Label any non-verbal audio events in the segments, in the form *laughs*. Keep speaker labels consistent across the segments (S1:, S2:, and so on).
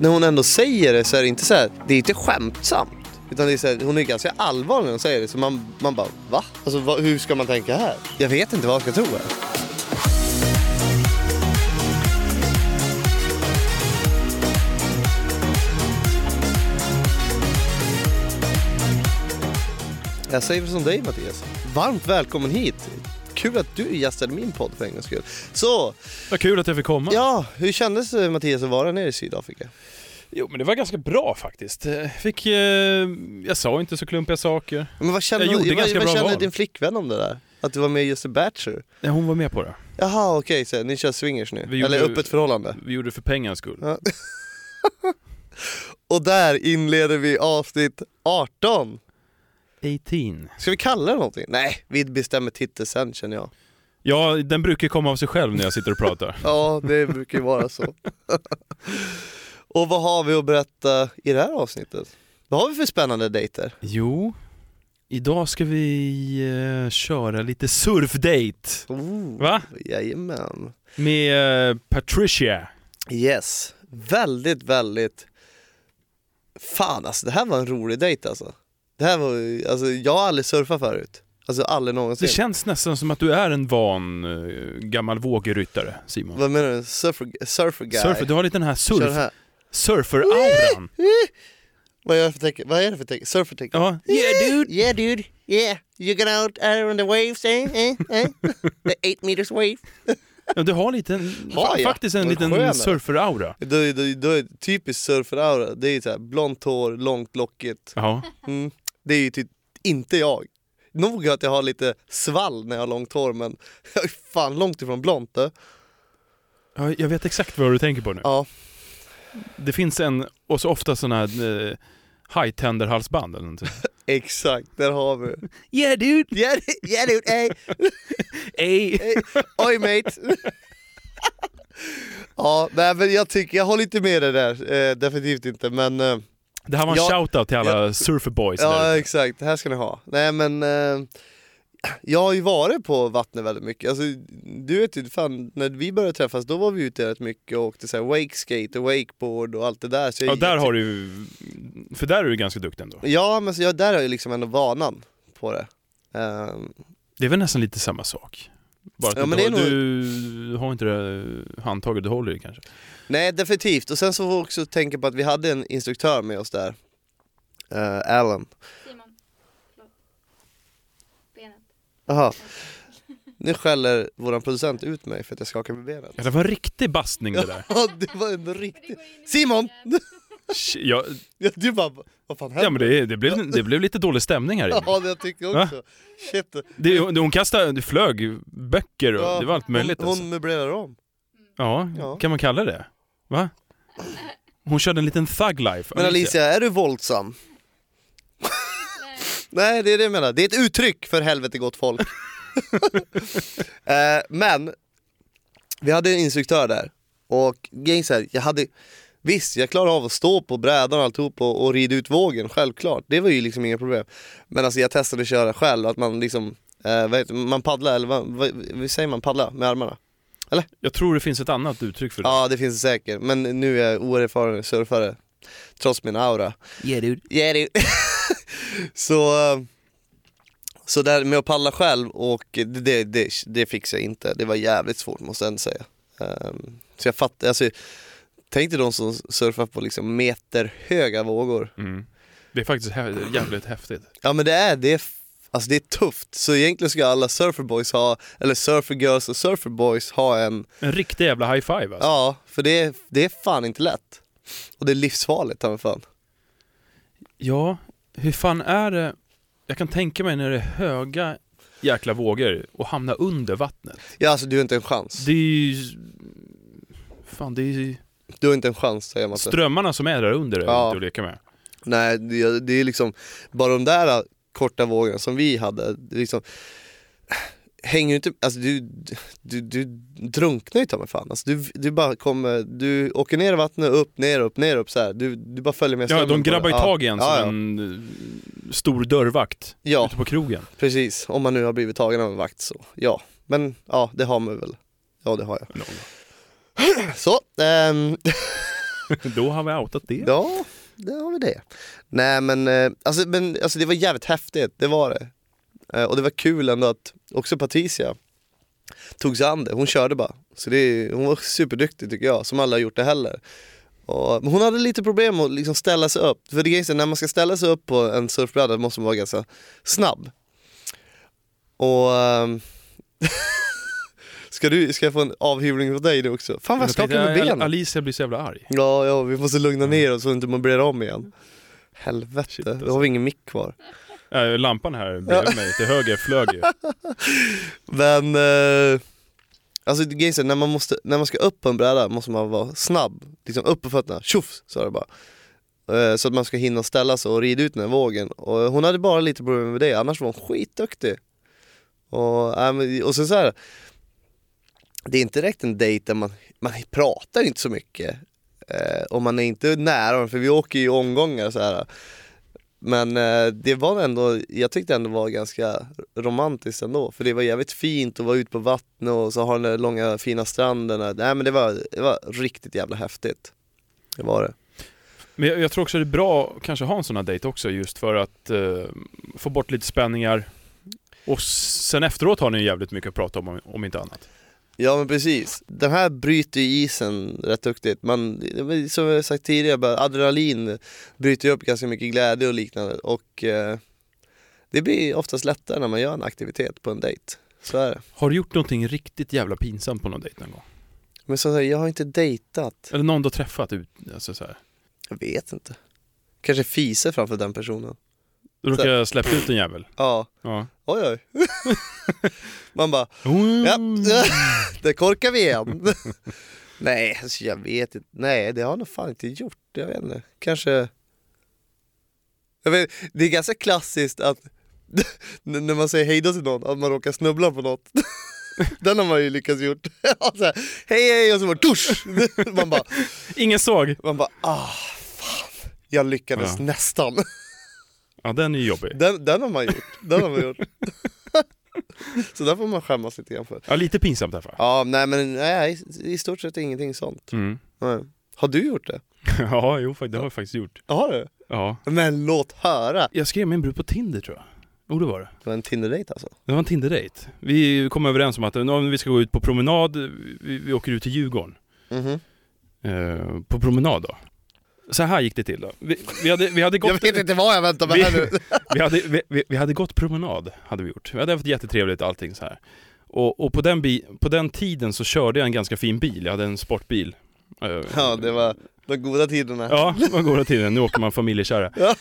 S1: när hon ändå säger det så är det inte så här, det är inte skämtsamt. Utan det är så här, hon är ganska allvarlig när hon säger det. Så man, man bara, va? Alltså vad, hur ska man tänka här? Jag vet inte vad jag ska tro här. Jag säger som dig Mattias. Varmt välkommen hit. Kul att du gästade min podd för en gångs skull. Så,
S2: Vad kul att jag fick komma.
S1: ja, hur kändes det Mattias att vara nere i Sydafrika?
S2: Jo, men det var ganska bra faktiskt. Eh, Fick, eh, jag sa inte så klumpiga saker.
S1: Men vad kände,
S2: Jag gjorde
S1: vad,
S2: ganska
S1: vad
S2: bra
S1: kände
S2: val.
S1: din flickvän om det där? Att du var med i Just a Bachelor?
S2: Nej, hon var med på det.
S1: Jaha okej, så ni kör swingers nu?
S2: Vi gjorde-
S1: Eller öppet förhållande?
S2: Vi gjorde det för pengarnas skull.
S1: Och där inleder vi avsnitt 18!
S2: 18.
S1: Ska vi kalla det någonting? Nej, vi bestämmer titel sen känner jag.
S2: Ja, den brukar komma av sig själv när jag sitter och pratar.
S1: Ja, det brukar ju vara så. *laughs* Och vad har vi att berätta i det här avsnittet? Vad har vi för spännande dejter?
S2: *laughs* Jo, idag ska vi eh, köra lite surfdate.
S1: Oh,
S2: Va?
S1: jajamän.
S2: Med eh, Patricia.
S1: Yes, väldigt, väldigt... Fan alltså, det här var en rolig dejt alltså. Det här var, ju- alltså jag har aldrig surfat förut. Alltså aldrig någonsin.
S2: Det känns nästan som att du är en van eh, gammal vågryttare, Simon.
S1: Vad menar du? Surfer, surfer guy?
S2: Surfer, du har lite den här
S1: Kör den
S2: surf,
S1: här.
S2: surfer-auran.
S1: Vad är det för tecken? Vad är det för tecken? Surfer tecken?
S2: Ja. Oh, Yeah dude!
S1: Yeah dude, yeah. You get out there on the waves, eh? eh, eh. The eight meters
S2: *laughs*
S1: wave.
S2: Ja, du har lite,
S1: Har jag?
S2: faktiskt en
S1: Vad
S2: liten
S1: skönare.
S2: surfer-aura.
S1: Du, du, du är typiskt surferaura. Det är så här blont hår, långt lockigt.
S2: Ja.
S1: Mm. Det är ju typ inte jag. Nog att jag har lite svall när jag har långt hår men *laughs* jag är fan långt ifrån blont du.
S2: Ja, jag vet exakt vad du tänker på nu.
S1: Ja.
S2: Det finns en, och så ofta sådana här eh, high-tender-halsband eller någonting.
S1: Exakt, där har *laughs* vi det.
S2: Yeah dude!
S1: Yeah, du- yeah dude, ey,
S2: Ey!
S1: ey. Oj mate. *laughs* ja, nej men jag tycker, jag håller inte med dig där. Eh, definitivt inte men eh,
S2: Det här var en
S1: Ja.
S2: shout-out till alla surferboys
S1: Ja
S2: där.
S1: exakt, det här ska ni ha. Nej men eh, jag har ju varit på vattnet väldigt mycket. Alltså, du vet ju, fan, när vi började träffas då var vi ute rätt mycket och åkte så här wakeskate och wakeboard och allt det där. Så jag
S2: Ja, där
S1: gick-
S2: har du ju- för där är du ganska duktig ändå.
S1: Ja men så jag, där har jag liksom ändå vanan på det. Ehm,
S2: Det är väl nästan lite samma sak? Bara att
S1: Ja,
S2: du
S1: men
S2: inte
S1: det är
S2: har- du har inte det handtaget du håller i kanske.
S1: nej definitivt, och sen så får jag också tänka på att vi hade en instruktör med oss där. Eh, Alan.
S3: Simon, förlåt. Benet.
S1: Jaha. Nu skäller våran producent ut mig för att jag skakar med benen. *laughs*
S2: Ja, det var en riktig bastning det där.
S1: Ja det var en riktig... Simon!
S2: Shit, Ja,
S1: Du bara, vad fan händer?
S2: ja men det, det, blev, det blev lite dålig stämning här inne.
S1: Ja, det tycker jag också. Shit.
S2: Det, hon hon kastade, det flög böcker och
S1: Ja,
S2: det var allt möjligt.
S1: hon,
S2: alltså.
S1: hon möblerar om.
S2: ja,
S1: ja.
S2: kan man kalla det? Va? Hon körde en liten thug life.
S1: Men Alicia, är du våldsam?
S3: Nej,
S1: *laughs* Nej, det är det jag menar. Det är ett uttryck för helvete gott folk.
S2: *laughs*
S1: eh, men, vi hade en instruktör där. Och grejen är så här, jag hade... Visst, jag klarar av att stå på brädan och alltihop och, och rida ut vågen, självklart. Det var ju liksom inga problem. Men alltså jag testade att köra själv, att man liksom, eh, vad heter, man paddlar, eller vad, vad, vad säger man, paddla med armarna?
S2: Jag tror det finns ett annat uttryck för det.
S1: Ja det finns det säkert, men nu är jag oerfaren surfare Trots min aura Yeah dude *laughs* Så, eh, så där med att palla själv och det, det, det, det fixade jag inte, det var jävligt svårt måste jag ändå säga Ehm, Så jag fattar, alltså Tänk dig de som surfar på liksom meterhöga vågor
S2: Mm. Det är faktiskt hä- jävligt häftigt.
S1: Ja men det är, det är f- Alltså det är tufft, så egentligen ska alla surferboys ha, eller surfergirls och surferboys ha en
S2: En riktig jävla high five alltså.
S1: Ja, för det är, det är fan inte lätt. Och det är livsfarligt, ta mig fan.
S2: Ja, hur fan är det? Jag kan tänka mig när det är höga jäkla vågor och hamna under vattnet.
S1: Ja, alltså du har inte en chans.
S2: Det är ju... Fan, det är ju
S1: Du har inte en chans, säger man. inte.
S2: strömmarna som är där under är
S1: Ja.
S2: inte att leka med.
S1: Nej, det det är liksom, bara de där äh, korta vågorna som vi hade, det är liksom, hänger du inte, alltså du, du, du drunknar ju ta mig fan. Alltså du, du bara kommer, du åker ner i vattnet, upp, ner, upp, ner, upp så här. Du, du bara följer med
S2: Ja, de
S1: strömmen på
S2: grabbar ju
S1: det.
S2: tag i en
S1: ja,
S2: som
S1: ja.
S2: en eh, stor dörrvakt
S1: ja,
S2: ute
S1: *laughs*
S2: på krogen.
S1: precis. Om man nu har blivit tagen av en vakt så, ja. Men *clears throat* ja, det har man väl. Ja, det har jag. Så, ehm,
S2: Då har vi outat det.
S1: Ja, där har vi det. Nej men, eh, alltså, men alltså, det var jävligt häftigt, det var det. Eh, Och det var kul ändå att också Patricia tog sig an det, hon körde bara. Så det, hon var superduktig tycker jag, som aldrig har gjort det heller. Och, men hon hade lite problem att liksom ställa sig upp, för det är ju så, när man ska ställa sig upp på en surfbräda måste man vara ganska snabb. Och... ehm, *laughs* ska, du, ska jag få en avhyvling från dig nu också? Fan vad jag skakar med
S2: tänkte, eh,
S1: benen.
S2: Alicia blir så jävla arg.
S1: Ja, ja, vi måste lugna ner oss så att inte man blir om igen. Helvete,
S2: Mm. Shit,
S1: då
S2: alltså.
S1: har vi ingen mick kvar.
S2: Äh, lampan här bredvid mig till höger flög
S1: *laughs*
S2: ju.
S1: Men, eh, alltså grejen är så här, när man, måste, när man ska upp på en bräda måste man vara snabb. Liksom upp på fötterna, tjoff, så är det bara. Eh, så att man ska hinna ställa sig och rida ut den här vågen. Och hon hade bara lite problem med det, annars var hon skitduktig. Och, äh, men- och sen så här. det är inte direkt en dejt där man, man pratar inte så mycket. Eh, och man är inte nära dem, för vi åker ju i omgångar så här. Men eh, det var ändå, jag tyckte ändå var ganska romantiskt ändå. För det var jävligt fint att vara ute på vattnet och så har den där långa fina stränderna. Nej men det var, det var riktigt jävla häftigt. Det var det.
S2: Men jag, jag tror också det är bra att kanske ha en sån här dejt också just för att eh, få bort lite spänningar. Och s- sen efteråt har ni ju jävligt mycket att prata om, om inte annat.
S1: Ja men precis. Den här bryter ju isen rätt duktigt. Man, som jag sagt tidigare, bara adrenalin bryter ju upp ganska mycket glädje och liknande. Och eh, det blir oftast lättare när man gör en aktivitet på en dejt. Så är det.
S2: Har du gjort någonting riktigt jävla pinsamt på någon dejt någon gång?
S1: Men som sagt, jag har inte dejtat.
S2: Eller någon du har träffat ut, alltså så här.
S1: Jag vet inte. Kanske fiser framför den personen.
S2: Du råkar jag släppa ut en jävel?
S1: Ja,
S2: Ja.
S1: oj oj. *laughs* Man bara, ja,
S2: Mm.
S1: *laughs* där korkar vi igen. *laughs* Nej, alltså jag vet inte. Nej, det har jag nog fan inte gjort. Jag vet inte. Kanske... Jag vet, det är ganska klassiskt att *laughs* n- när man säger hej då till någon, att man råkar snubbla på något. *laughs* Den har man ju lyckats gjort. *laughs* Så här, hej hej och så bara tusch! *laughs* Man bara,
S2: Ingen såg!
S1: man bara ah fan, jag lyckades
S2: Ja.
S1: nästan. *laughs*
S2: Ja, den är ju jobbig.
S1: Den, den har man gjort. Den har man gjort. *laughs* så där får man skämmas lite grann för.
S2: Ja, lite pinsamt i alla fall.
S1: Ja, nej men nej, i stort sett ingenting sånt.
S2: Mm.
S1: Nej. Har du gjort det?
S2: *laughs* Ja, jo, fa- det har jag faktiskt gjort.
S1: Har du?
S2: Ja.
S1: Men låt höra!
S2: Jag skrev med en brud på Tinder tror jag. Jo, det var det.
S1: Det var en Tinder-dejt alltså?
S2: Det var en Tinder-dejt. Vi kom överens om att ja, men vi ska gå ut på promenad, vi, vi åker ut till Djurgården.
S1: Mhm.
S2: Eh, på promenad då. Så här gick det till då. Vi, vi, hade, vi, hade,
S1: Jag
S2: gått,
S1: vet inte vad jag väntar mig här nu.
S2: *laughs* vi, hade, vi- vi, vi hade gått promenad, hade vi gjort. Vi hade haft jättetrevligt allting så här. Och, och på, den bi, på den tiden så körde jag en ganska fin bil, jag hade en sportbil. Eh,
S1: Ja, det var de goda tiderna.
S2: Ja, man går åt tiden. Nu åker man familjekärra.
S1: Ja.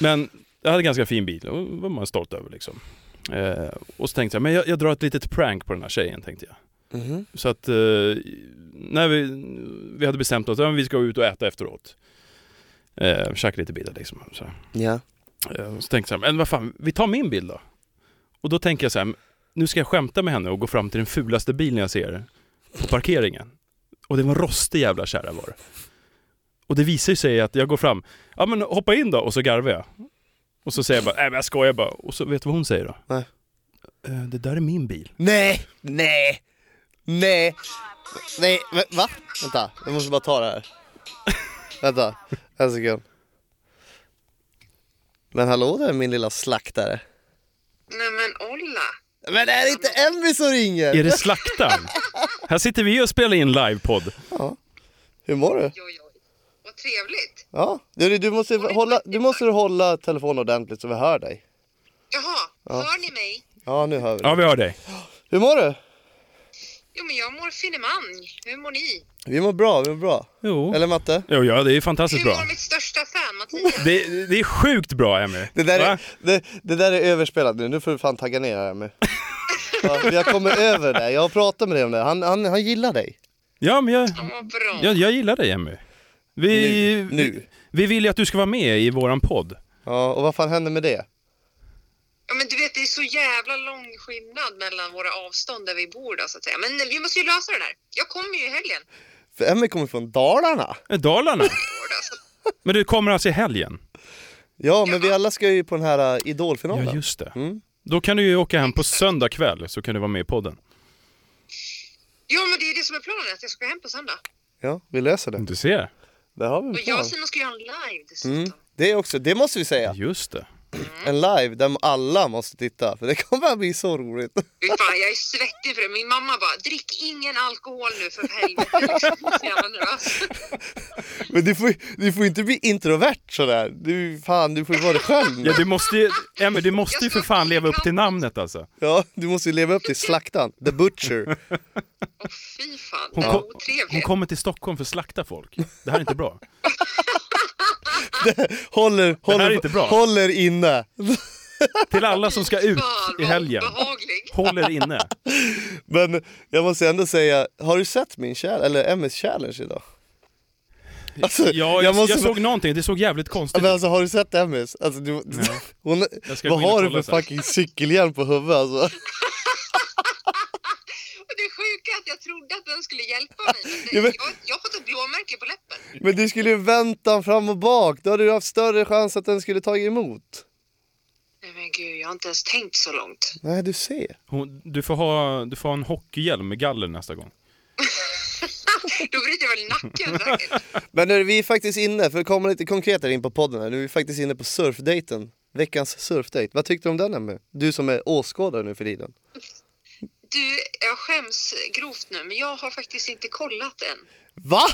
S2: Men jag hade en ganska fin bil och var man stolt över liksom. Eh, och så tänkte jag, men jag, jag drar ett litet prank på den här tjejen tänkte jag.
S1: Mhm.
S2: Så att, eh, när vi, vi hade bestämt oss, ja, men vi ska ut och äta efteråt. Eh, käka lite bilar liksom. Så,
S1: Ja.
S2: eh, så tänkte jag, men vad fan, vi tar min bil då. Och då tänker jag så här, nu ska jag skämta med henne och gå fram till den fulaste bilen jag ser på parkeringen. Och det var en rostig jävla kärra var det. Och det visar ju sig att jag går fram, ja men hoppa in då, och så garvar jag. Och så säger jag bara, nej men jag skojar bara. Och så vet du vad hon säger då?
S1: Nej.
S2: "Eh, Det där är min bil.
S1: Nej! Nej! Nej! Nej, va- va? Vänta, jag måste bara ta det här. Vänta, en sekund. Men hallå där min lilla slaktare.
S4: Nej men Olla!
S1: Men är det inte Emmy som ringer?
S2: Är det slaktaren? Här sitter vi och spelar in livepodd.
S1: Hur mår du?
S4: Oj, oj. Vad trevligt!
S1: Ja, du, du, måste hålla, du måste hålla telefonen ordentligt så vi hör dig.
S4: Jaha, hör ni mig?
S1: Ja, nu hör vi
S2: Ja,
S1: dig.
S2: vi hör dig.
S1: Hur mår du?
S4: Jo men jag mår finemang. Hur mår ni?
S1: Vi mår bra, vi mår bra.
S2: Jo.
S1: Oh. Eller matte?
S2: Jo, ja, det är fantastiskt
S4: Hur
S2: bra.
S4: mår mitt största fan Mattias?
S2: Det, det är sjukt bra, Emmy.
S1: Det där,
S2: Va?
S1: är, det, det där är överspelat nu, nu får du fan tagga ner här med. Ja, för jag kommer över det, jag har pratat med dig om det. Han, han, han gillar dig.
S2: Ja, men jag,
S4: Ja, Vad bra.
S2: jag, jag gillar dig, Emmy. Vi,
S1: Nu, nu.
S2: vi vill ju att du ska vara med i våran podd.
S1: Ja, och vad fan hände med det?
S4: Ja men du vet det är så jävla lång skillnad mellan våra avstånd där vi bor då så att säga. Men vi måste ju lösa det där. Jag kommer ju i helgen.
S1: För Emmy kommer från Dalarna. *laughs*
S2: Eh, Dalarna.
S4: i år, då, så att-
S2: Men du kommer alltså i helgen?
S1: Ja, men vi alla ska ju på den här äh, Idolfinalen.
S2: Ja, just det.
S1: Mm.
S2: Då kan du ju åka hem på söndag kväll, så kan du vara med i podden.
S4: Ja men det är det som är planen, att jag ska hem på söndag.
S1: Ja, vi löser det.
S2: Du ser.
S1: Det har vi en
S4: Och
S1: plan.
S4: jag och Simon ska göra en live dessutom.
S1: Mm. Det också, det måste vi säga.
S2: Just det.
S4: Mm.
S1: En live där alla måste titta, för det kommer att bli så roligt.
S4: Fy fan, jag är svettig för det. Min mamma bara, drick ingen alkohol nu för
S2: *laughs*
S4: helvete. Liksom. Jag är Så jävla nervös.
S1: Men du får, du får inte bli introvert sådär. Du, fan, du får ju vara dig själv nu.
S2: Ja, du måste ju, ja, men du måste ju för fan leva upp till namnet alltså.
S1: Ja, du måste ju leva upp till slaktan, the butcher.
S4: Åh fy fan,
S2: Hon,
S4: den
S2: kom,
S4: är otrevlig.
S2: hon kommer till Stockholm för att slakta folk. Det här är inte bra.
S1: Håller,
S2: här är
S1: håller,
S2: inte bra.
S1: håller inne.
S2: Till alla som ska ut
S4: Fan,
S2: i
S4: vad
S2: helgen.
S4: obehaglig.
S2: Håller inne.
S1: Men jag måste ändå säga, har du sett min challenge, eller MS challenge idag? Alltså,
S2: Ja, jag,
S1: jag
S2: jag,
S1: måste-
S2: såg någonting, det såg jävligt konstigt
S1: Men
S2: ut.
S1: alltså har du sett MS? Alltså, du, hon,
S2: Jag
S1: vad
S2: ska gå in och
S1: har du för
S2: kolla sen.
S1: fucking cykelhjälm på huvudet alltså?
S4: Och det sjuka är att jag trodde att den skulle hjälpa mig. Men det,
S1: Ja, men-
S4: Jag, jag har fått ett blåmärke på läppen.
S1: Men du skulle ju vänta fram och bak, då hade du haft större chans att den skulle ta emot.
S4: Nej men gud, jag har inte ens tänkt så långt. *laughs*
S1: Nej, du ser.
S2: Hon, du, får ha, du får ha en hockeyhjälm med galler nästa gång.
S4: Då bryter jag väl
S2: *laughs*
S4: nacken säkert.
S1: Men nu, vi är faktiskt inne, för att komma lite konkretare in på podden här, nu är vi faktiskt inne på surfdejten. Veckans surfdejt. Vad tyckte du om den Emmy? Du som är åskådare nu för tiden.
S4: Du, jag skäms grovt nu, men jag har faktiskt inte kollat än.
S1: Va?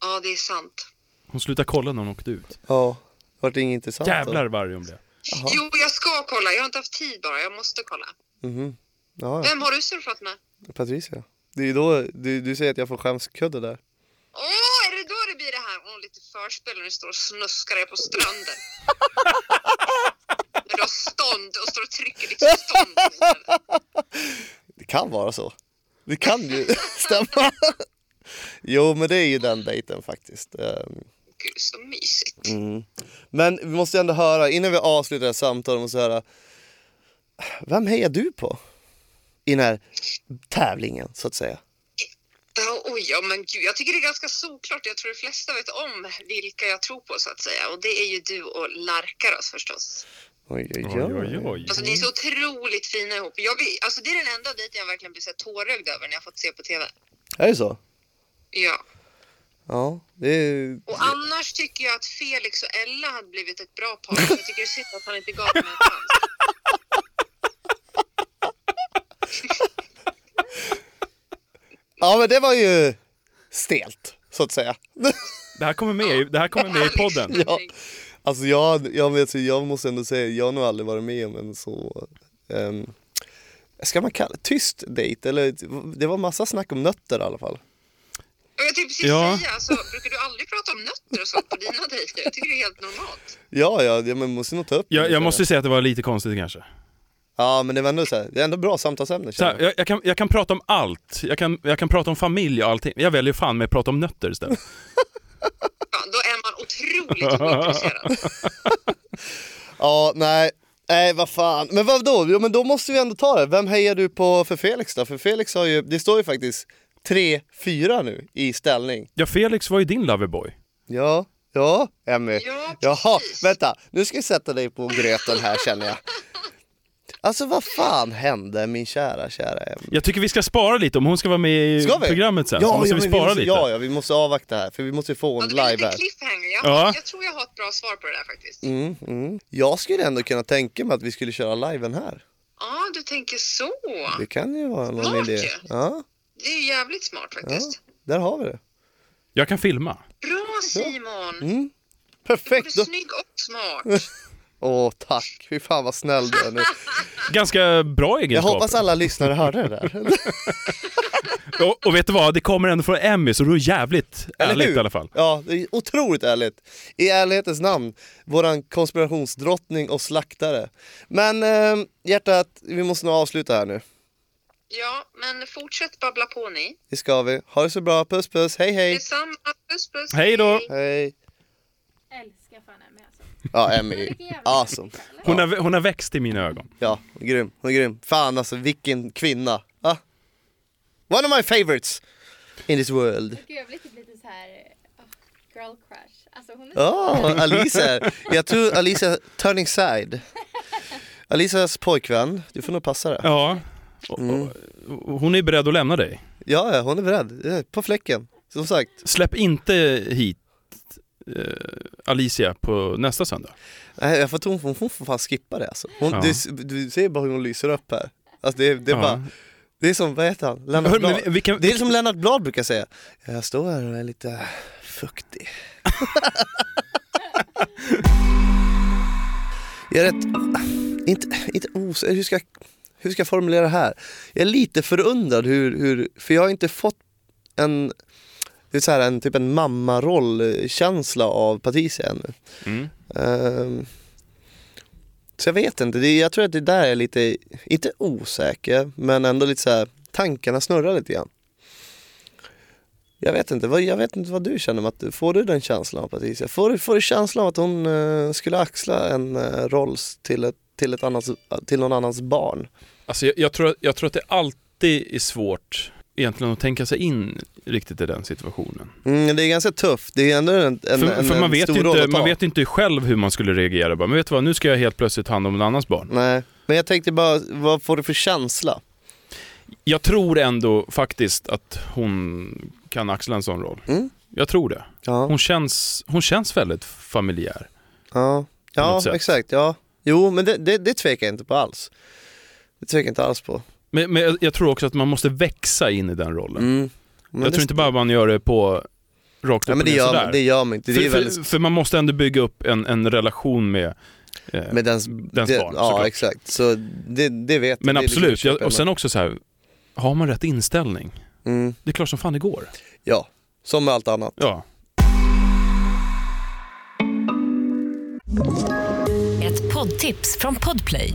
S4: Ja, det är sant.
S2: Hon slutar kolla när hon åkte ut.
S1: Ja, vart det inget intressant då?
S2: Jävlar vad arg hon blev.
S4: Jo, jag ska kolla. Jag har inte haft tid bara. Jag måste kolla.
S1: Mhm. Ja,
S4: Vem har du surfat med?
S1: ja. Patricia. Det är ju då du, du säger att jag får skämskudde där.
S4: Åh, är det då det blir det här? Åh, lite förspel när du står och snuskar dig
S2: *laughs*
S4: på stranden. när du har stånd och står och trycker ditt stånd.
S1: Det kan vara så. Det kan ju *laughs* stämma. Jo, men det är ju den dejten faktiskt. Ehm,
S4: Gud, så mysigt.
S2: Mm.
S1: Men vi måste ändå höra, innan vi avslutar det här samtalet, måste jag höra. Vem hejar du på? I den här tävlingen, så att säga.
S4: Ja, oj, ja, men gud, jag tycker det är ganska solklart. Jag tror de flesta vet om vilka jag tror på så att säga. Och det är ju du och Larkaras förstås.
S1: Oj, oj,
S2: Oj, oj,
S1: oj.
S2: oj.
S4: Alltså ni är så otroligt fina ihop. Jag, blir- alltså, det är den enda dejten jag verkligen blir så här tårögd över när jag fått se på TV.
S1: Är det så?
S4: Ja.
S1: Ja, det är...
S4: Och annars tycker jag att Felix och Ella hade blivit ett bra par. Så jag tycker det är synd att han inte gav mig
S2: *laughs*
S4: en chans.
S1: Ja, men det var ju stelt, så att säga.
S2: Det här kommer med, i- det här kommer med i podden.
S1: Ja. *laughs* Alltså jag, jag, vet, så jag måste ändå säga, jag har nog aldrig varit med om en så, ehm, ska man kalla tyst dejt? Eller det var massa snack om nötter i alla fall.
S4: Och jag tänkte precis
S2: Ja.
S4: säga, alltså, brukar du aldrig prata om nötter och sånt på dina dejter? Jag tycker det är helt normalt.
S1: Ja, ja, ja men måste nog ta upp det
S2: Jag,
S1: lite.
S2: jag måste säga att det var lite konstigt kanske.
S1: Ja, men det var ändå så här, det är ändå bra samtalsämne
S2: Så
S1: känner
S2: här, jag, jag, kan, jag kan prata om allt. Jag kan, jag kan prata om familj och allting. Jag väljer fan med att prata om nötter
S1: *laughs*
S2: istället.
S4: Fan, då är
S2: *laughs*
S4: man otroligt ointresserad.
S1: Ja, nej. Nej, vad fan. Men vad då? Jo, men då måste vi ändå ta det. Vem hejar du på för Felix då? För Felix har ju, det står ju faktiskt 3-4 nu i ställning.
S2: Ja, Felix var ju din loverboy.
S1: Ja, ja, Emmy.
S4: Ja,
S1: Jaha,
S4: precis.
S1: vänta. Nu ska jag sätta dig på gröten här känner jag. Alltså vad fan hände min kära, kära Emmy?
S2: Jag tycker vi ska spara lite, om hon ska vara med i
S1: Ska vi?
S2: programmet sen så måste
S1: men
S2: vi spara
S1: måste,
S2: lite.
S1: Ja, ja, vi måste avvakta här för vi måste få
S4: Ja,
S1: en
S4: det blir
S1: live
S4: lite
S1: här.
S4: cliffhanger. Jag,
S2: Ja.
S4: jag tror jag har ett bra svar på det där faktiskt.
S1: Mm, mm. Jag skulle ändå kunna tänka mig att vi skulle köra liven här.
S4: Ja, du tänker så.
S1: Det kan ju vara någon
S4: Smart
S1: idé.
S4: ju.
S1: Ja,
S4: Det är ju jävligt smart
S1: ja,
S4: faktiskt.
S1: där har vi det.
S2: Jag kan filma.
S4: Bra Simon! Både
S1: Perfekt! Då-
S4: snygg och smart.
S1: *laughs* Åh tack, fy fan vad snäll du är
S2: *laughs*
S1: nu.
S2: Ganska bra
S1: Jag
S2: egenskaper.
S1: hoppas alla lyssnare hörde det där.
S2: och, och vet du vad, det kommer ändå från Emmy så det är jävligt ärligt
S1: hur?
S2: i alla fall.
S1: Ja, det är otroligt ärligt. I ärlighetens namn, våran konspirationsdrottning och slaktare. Men eh, hjärtat, vi måste nog avsluta här nu.
S4: Ja, men fortsätt babbla på ni.
S1: Det ska vi. Ha det så bra, puss puss, hej hej!
S4: Detsamma. Puss puss.
S2: Hej då.
S1: Hej!
S3: Älskar fan Emmy alltså.
S1: Ja, Emmy. Awesome.
S2: Hon, har, hon har växt i mina ögon.
S1: Ja, hon är grym. Hon är grym. Fan alltså, vilken kvinna. Ah. One of my favorites in this world.
S3: Gud jag blir typ lite så här ah, girl crush. Alltså hon är
S1: Ja, Alicia. Jag tror Alicia Turning Side. Alicias pojkvän. Du får nog passa det.
S2: Ja. Och,
S1: Mm.
S2: och, och hon är beredd att lämna dig.
S1: Ja, ja, hon är beredd. Eh, På fläcken. Som sagt.
S2: Släpp inte hit hit eh, Alicia på nästa söndag.
S1: Nej, jag fattar, hon, får- hon får fan skippa det alltså. Hon,
S2: Ja.
S1: du, du ser bara hur hon lyser upp här. Alltså det, är- det är
S2: Ja.
S1: bara, det är som, vad heter han? Lennart
S2: Hör, men
S1: Blad.
S2: vi, vi kan,
S1: Det är som Lennart Blad brukar säga. Jag står här och är lite fuktig. *laughs* jag är rätt, inte, inte os, hur ska, jag- hur ska jag formulera det här? Jag är lite förundrad hur, hur för jag har inte fått en, det är så här, en typ en mammarollkänsla av Patricia ännu.
S2: mm.
S1: Ehm, så jag vet inte, det, jag tror att det där är lite, inte osäker, men ändå lite så här, tankarna snurrar lite grann. Jag vet inte, vad, jag vet inte vad du känner, om att, får du den känslan av Patricia? Får, du- får du känslan av att hon eh, skulle axla en eh, roll till, ett, till, ett annans, till någon annans barn?
S2: Alltså jag, jag, tror, att- jag tror att det alltid är svårt egentligen att tänka sig in riktigt i den situationen.
S1: Mm, det är ganska tufft, det är ändå en, en,
S2: för
S1: en,
S2: för man,
S1: en
S2: vet
S1: stor
S2: ju
S1: roll
S2: inte,
S1: att ta.
S2: man vet ju inte själv hur man skulle reagera. Bara, men vet du vad, nu ska jag helt plötsligt ta hand om någon annans barn.
S1: Nej, men jag tänkte bara, vad får du för känsla?
S2: Jag tror ändå faktiskt att hon kan axla en sån roll.
S1: Mm.
S2: Jag tror det.
S1: Ja,
S2: Hon känns, hon känns väldigt familjär.
S1: ja,
S2: något
S1: ja
S2: sätt.
S1: exakt, ja. Jo, men det, det, det tvekar jag inte på alls. Det tvekar jag inte alls på.
S2: Men, men jag- jag tror också att man måste växa in i den rollen.
S1: Mm. Men det-
S2: jag tror inte bara man gör det på rakt upp
S1: ja,
S2: och
S1: men det,
S2: ner
S1: gör,
S2: sådär.
S1: det gör man inte. Det är
S2: för,
S1: ju väldigt...
S2: för, för man måste ändå bygga upp en, en relation med, eh,
S1: Med dens,
S2: dens
S1: det,
S2: barn
S1: Ja,
S2: såklart.
S1: exakt. Så det, det vet
S2: Men
S1: det är liksom
S2: absolut,
S1: köpa
S2: jag, och sen också så här, har man rätt inställning?
S1: ändå. Mm.
S2: Det är klart som fan det går.
S1: Ja, som med allt annat.
S2: Ja.
S5: Ett poddtips från Podplay.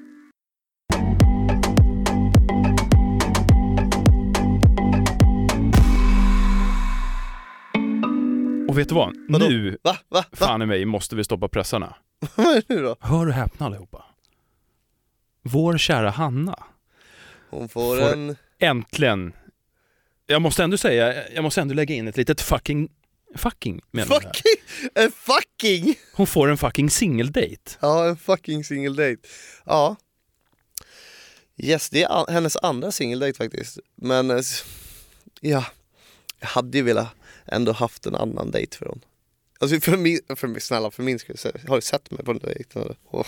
S2: Och vet du vad?
S1: Vadå?
S2: Nu,
S1: Va? Va? Va?
S2: fan i mig, måste vi stoppa pressarna.
S1: *laughs* Vad är det nu då?
S2: Hör och häpna allihopa. Vår kära Hanna.
S1: Hon får,
S2: Får-
S1: en...
S2: Äntligen. Jag måste ändå säga, jag måste ändå lägga in ett litet fucking, fucking menar jag här.
S1: Fucking! En fucking!
S2: Hon får en fucking singeldate.
S1: *laughs* Ja, en fucking single date. Ja. Yes, det är an- hennes andra single date faktiskt. Men eh, s- ja, jag hade ju velat ändå haft en annan date för hon. Alltså för min, för min, snälla för min skull, så- har du sett mig på den dejten? Åh,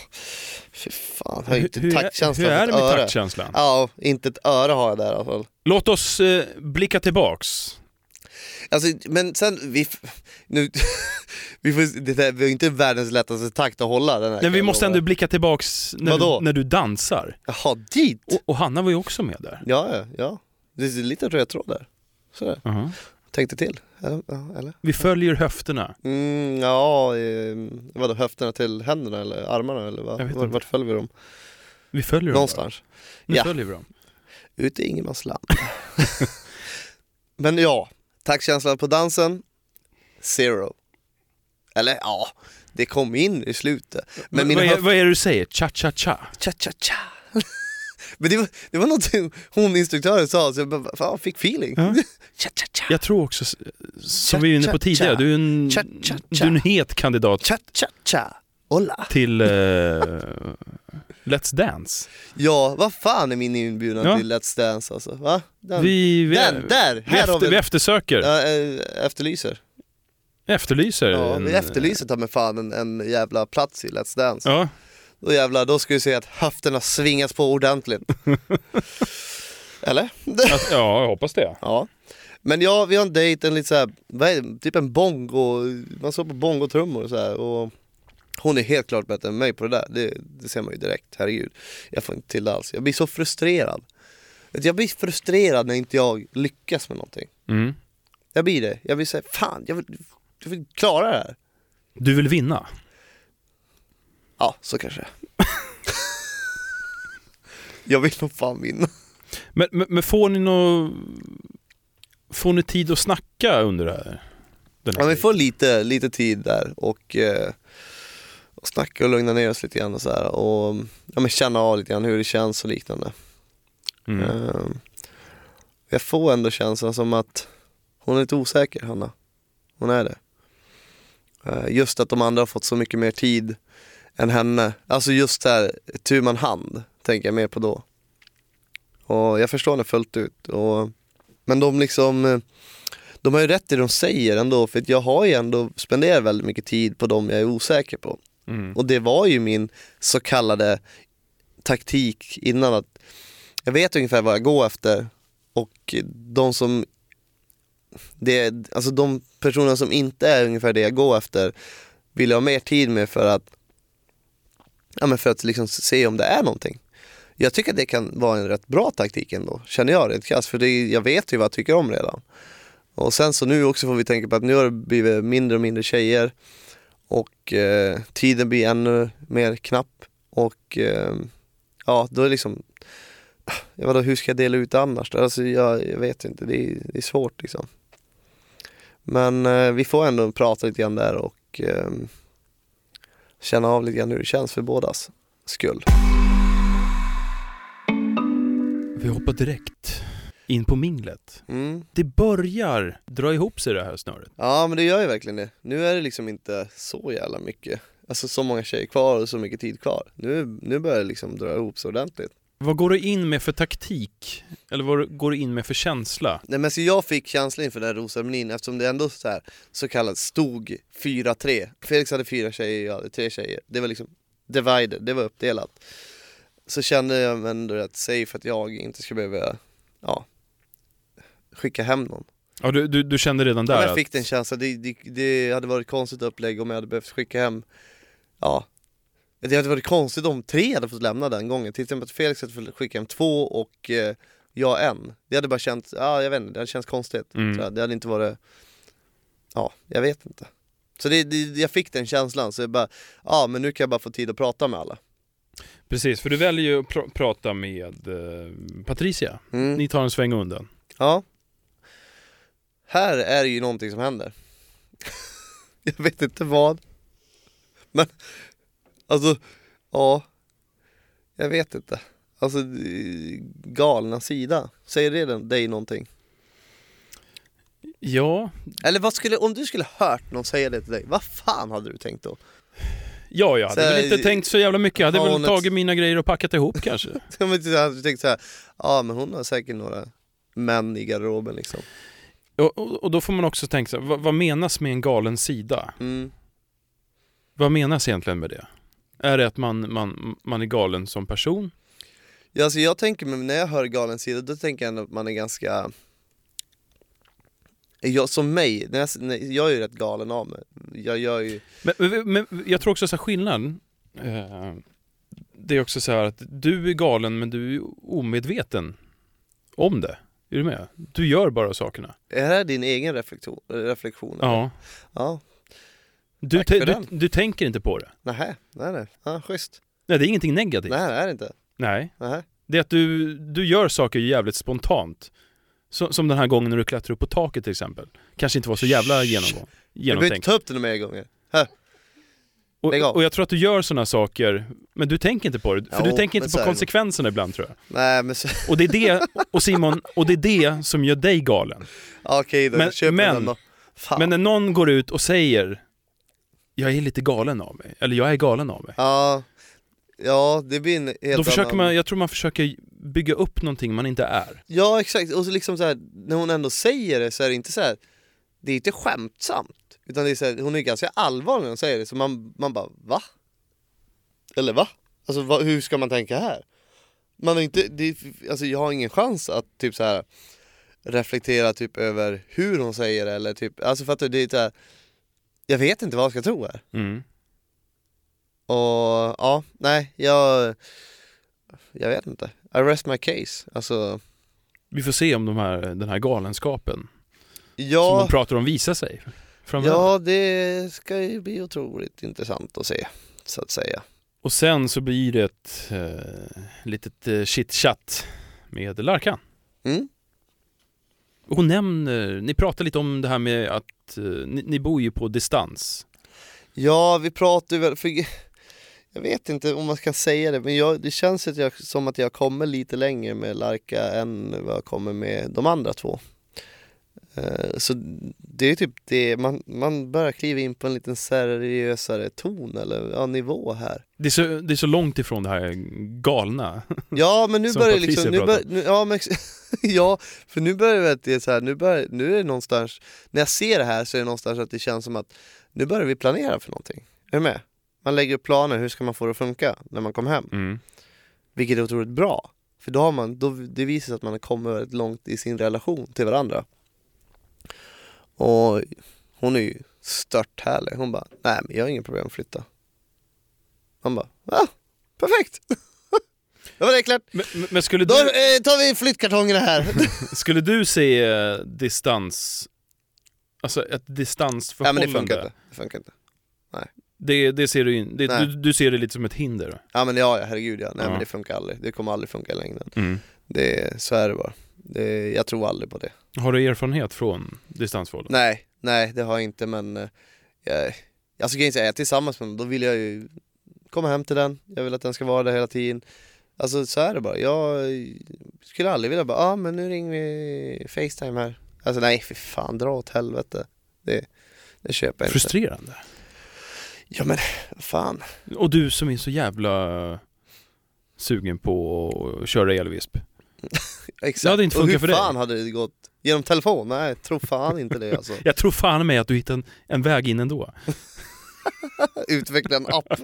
S1: fy fan, jag har ju inte taktkänsla
S2: hur
S1: för
S2: är
S1: ett
S2: det med
S1: öre.
S2: taktkänslan?
S1: Ja, inte ett öre har jag där i alla fall.
S2: Låt oss eh, blicka tillbaks.
S1: Alltså, men sen, vi, f- nu, *laughs* vi får, det där var ju inte världens lättaste takt att hålla den här
S2: Nej, vi
S1: kvällen.
S2: måste ändå blicka tillbaks när,
S1: Vadå?
S2: du, när du dansar.
S1: Jaha, dit!
S2: Och, och Hanna var ju också med där.
S1: Ja, ja, ja. Det är lite röd tråd där. Sådär.
S2: uh
S1: Tänkte till. Eller? Ja, eller?
S2: Vi följer höfterna.
S1: Mm, ja, eh, vadå höfterna till händerna eller armarna eller vad?
S2: Jag vet
S1: Vart,
S2: inte.
S1: vart följer vi dem?
S2: Vi följer dem.
S1: Någonstans.
S2: bara. Nu
S1: Ja.
S2: följer vi dem.
S1: Ut i ingenmansland. *laughs* Men ja, taktkänslan på dansen, zero. Eller ja, det kom in i slutet. Men
S2: vad,
S1: mina
S2: är,
S1: höfter...
S2: vad är det du säger? Cha-cha-cha?
S1: Cha, cha, cha. *laughs* Men det var, det var någonting hon instruktören sa, så jag bara, fan, fick feeling. *laughs*
S2: Ja.
S1: Cha, cha, cha.
S2: Jag tror också, s- som vi var inne på
S1: Cha-cha-cha.
S2: tidigare, du är en,
S1: Cha-cha-cha.
S2: du är en het kandidat
S1: Cha, cha, cha. Hola. *laughs*
S2: till eh, Let's Dance.
S1: Ja, vad fan är min inbjudan
S2: Ja.
S1: till Let's Dance alltså? Va? Den,
S2: Vi, vi,
S1: den där!
S2: vi,
S1: Här har
S2: efter,
S1: vi...
S2: vi eftersöker,
S1: Ja, eh, efterlyser.
S2: efterlyser.
S1: Ja,
S2: en-
S1: vi efterlyser ta mig fan en, en jävla plats i Let's Dance.
S2: Ja,
S1: Då jävlar, då ska vi se att höfterna svingas på
S2: *laughs*
S1: ordentligt. Eller?
S2: att, ja, jag hoppas det.
S1: ja. Men ja, vi har en dejt, en lite såhär, vad är det? typ en bongo, man står på bongotrummor och såhär och hon är helt klart bättre än mig på det där, det, det ser man ju direkt, herregud. Jag får inte till det alls, jag blir så frustrerad. Vet du, Jag blir frustrerad när inte jag lyckas med någonting.
S2: Mm.
S1: Jag blir det, jag blir såhär, fan jag vill, jag vill klara det här.
S2: Du vill vinna?
S1: Ja, så kanske *laughs* det är. Jag vill nog fan vinna.
S2: Men, men, men får ni nå... Får ni tid att snacka under det här? Den här
S1: Ja, vi
S2: tiden?
S1: får lite, lite tid där och eh, och snacka och lugna ner oss lite grann och, så här, och ja, men känna av lite grann hur det känns och liknande.
S2: Mm.
S1: Ehm, jag får ändå känslan som att hon är lite osäker, Hanna. Hon är det. Eh, just att de andra har fått så mycket mer tid än henne. Alltså just det här tu man hand, tänker jag mer på då. Och jag förstår henne fullt ut. Och, men de liksom, eh, de har ju rätt i det de säger ändå, för att jag har ju ändå spenderat väldigt mycket tid på dem jag är osäker på.
S2: Mm.
S1: Och det var ju min så kallade taktik innan att jag vet ungefär vad jag går efter och de som det, alltså de personer som inte är ungefär det jag går efter vill jag ha mer tid med för att ja men för att liksom se om det är någonting. Jag tycker att det kan vara en rätt bra taktik ändå, känner jag rent krasst, för det, jag vet ju vad jag tycker om redan. Och sen så nu också får vi tänka på att nu har det blivit mindre och mindre tjejer och eh, tiden blir ännu mer knapp och eh, ja, då är det liksom, jag vet inte, hur ska jag dela ut det annars? Alltså jag, jag vet inte, det är, det är svårt liksom. Men eh, vi får ändå prata lite grann där och eh, känna av lite grann hur det känns för bådas skull.
S2: Vi hoppar direkt in på minglet.
S1: Mm.
S2: Det börjar dra ihop sig det här snöret.
S1: Ja men det gör ju verkligen det. Nu är det liksom inte så jävla mycket, alltså så många tjejer kvar och så mycket tid kvar. Nu, nu börjar det liksom dra ihop sig ordentligt.
S2: Vad går du in med för taktik? Eller vad går du in med för känsla?
S1: Nej men så jag fick känslan inför den här rosceremonin eftersom det ändå så här så kallat stod 4-3. Felix hade fyra tjejer, jag hade tre tjejer. Det var liksom divided, det var uppdelat. Så kände jag mig ändå rätt safe att jag inte skulle behöva, ja, skicka hem någon.
S2: Ja, du, du, du kände redan där
S1: Men jag
S2: att-
S1: fick den känslan, det, det, det hade varit konstigt upplägg om jag hade behövt skicka hem, ja Det hade varit konstigt om tre hade fått lämna den gången, till exempel att Felix hade fått skicka hem två och eh, jag en Det hade bara känts, ja jag vet inte, det hade känts konstigt
S2: Mm.
S1: Så här, Det hade inte varit, ja jag vet inte Så det, det, jag fick den känslan, så jag bara, ja men nu kan jag bara få tid att prata med alla
S2: Precis, för du väljer ju att pr- prata med eh, Patricia.
S1: mm.
S2: Ni tar en sväng undan.
S1: Ja. Här är ju någonting som händer. *laughs* Jag vet inte vad. Men, alltså, ja. Jag vet inte. Alltså, eh, galna sida. Säger det den- dig någonting?
S2: Ja,
S1: Eller vad skulle, om du skulle hört någon säga det till dig, vad fan hade du tänkt då? *laughs*
S2: ja jag hade
S1: Så
S2: väl
S1: här,
S2: inte tänkt så jävla mycket. Jag hade
S1: har
S2: väl
S1: hon ett-
S2: tagit mina grejer och packat ihop kanske.
S1: Om inte så hade Du tänkt så här, ja men hon har säkert några män i garderoben liksom.
S2: Och, och, och då får man också tänka sig, vad, vad menas med en galen sida?
S1: Mm.
S2: Vad menas egentligen med det? Är det att man, man, man är galen som person?
S1: Ja, alltså jag tänker, men när jag hör galen sida, då tänker jag ändå att man är ganska... Jag, som mig, när jag, när, jag är ju rätt galen av mig. Jag gör ju...
S2: Men, men, men jag tror också så här skillnaden, eh, det är också så här att du är galen men du är omedveten om det. Är du med? Du gör bara sakerna.
S1: Är det här din egen reflektion? reflektion eller?
S2: Ja.
S1: ja.
S2: Du,
S1: Tack för
S2: te-
S1: den.
S2: du, du tänker inte på det.
S1: Nähä, nej nej. Ja, schysst.
S2: Nej, det är ingenting negativt.
S1: Nej, det är det inte.
S2: Nej.
S1: Nähä.
S2: Det är att du, du gör saker jävligt spontant. Så, som den här gången när du klättrar upp på taket till exempel. Kanske inte var så jävla genomgång,
S1: Du behöver
S2: genomtänkt.
S1: inte ta upp det några mer gånger.
S2: Och,
S1: lägg av.
S2: och jag tror att du gör sådana saker, men du tänker inte på det. För du
S1: Jo,
S2: tänker
S1: men
S2: inte
S1: så
S2: på
S1: är det nog.
S2: konsekvenserna ibland tror jag.
S1: Nej men så, *laughs*
S2: Och det är det, och Simon, och det är det som gör
S1: *laughs*
S2: dig galen.
S1: Ja, okej då,
S2: Men-
S1: jag köper
S2: men-
S1: den då. Fan.
S2: Men när någon går ut och säger jag är lite galen av mig, eller jag är galen av mig.
S1: ja, ja, det blir en helt
S2: Då försöker
S1: annan-
S2: man, jag tror man försöker bygga upp någonting man inte är.
S1: Ja exakt, och så liksom så här, när hon ändå säger det så är det inte så här det är inte skämtsamt. Utan det är så här, hon är ganska allvarlig när hon säger det, så man, man bara va? Eller va? Alltså va, hur ska man tänka här? Man är inte, det, alltså jag har ingen chans att typ så här reflektera typ över hur hon säger det eller typ, alltså fattar du? Det är så här, jag vet inte vad jag ska tro här.
S2: Mm.
S1: Och ja, nej, jag, jag vet inte. I rest my case. Alltså,
S2: Vi får se om de här, den här galenskapen som
S1: jag...
S2: de pratar om visar sig framöver.
S1: Ja, det ska ju bli otroligt intressant att se, så att säga.
S2: Och sen så blir det ett eh, litet eh, chitchat med Larkan.
S1: Mm.
S2: Och Hon nämner, ni pratar lite om det här med att eh, ni, ni bor ju på distans.
S1: Ja, vi pratar ju väl... För, jag vet inte om man kan säga det, men jag, det känns att jag, som att jag kommer lite längre med Larka än vad jag kommer med de andra två. Eh, Så det är typ det, man, man börjar kliva in på en liten seriösare ton eller ja, nivå här.
S2: Det är, så, det är så långt ifrån det här galna.
S1: Ja men nu
S2: Som
S1: börjar det
S2: Patricia
S1: liksom, nu
S2: pratar
S1: bör, nu, ja, men, ex- *laughs* ja för nu börjar det att det är så här, nu, börjar, nu är det någonstans, när jag ser det här så är det någonstans att det känns som att nu börjar vi planera för någonting. Är du med? Man lägger upp planer, hur ska man få det att funka när man kommer hem?
S2: Mm.
S1: Vilket är otroligt bra. För då har man, då, det visar sig att man har kommit väldigt långt i sin relation till varandra. Och hon är ju stört härlig. Hon bara, nej men jag har inga problem att flytta. Man bara, ah, perfekt! *laughs* Då var det klart.
S2: *laughs* Men, men- men skulle,
S1: Då
S2: du,
S1: eh, tar vi flyttkartongerna *laughs* här.
S2: *laughs* skulle du se eh, distans, alltså ett
S1: ja men
S2: distansförhållande?
S1: det funkar inte. Det funkar inte.
S2: Det, det ser du, in- det,
S1: Nej.
S2: du, du ser det lite som ett hinder?
S1: Ja men ja, ja, herregud ja. Nej
S2: Ja.
S1: men det funkar aldrig. Det kommer aldrig funka i längden.
S2: Mm.
S1: Det, så är det bara. Det, jag tror aldrig på det.
S2: Har du erfarenhet från distansförhållanden?
S1: Nej, nej det har jag inte men eh, jag, alltså grejen är att jag är tillsammans med någon, då vill jag ju komma hem till den, jag vill att den ska vara där hela tiden. Alltså så är det bara, jag skulle aldrig vilja bara, ja ah, men nu ringer vi Facetime här. Alltså nej för fan, dra åt helvete. Det, det köper jag inte.
S2: Frustrerande.
S1: ja men fan.
S2: Och du som är så jävla sugen på att köra elvisp.
S1: Exakt.
S2: Det hade inte
S1: Och hur
S2: funkat för dig.
S1: fan hade det gått? Genom telefon? Nej, tro fan inte det alltså.
S2: Jag tror fan mig att du hittar en, en väg in ändå.
S1: utveckla en app. *laughs*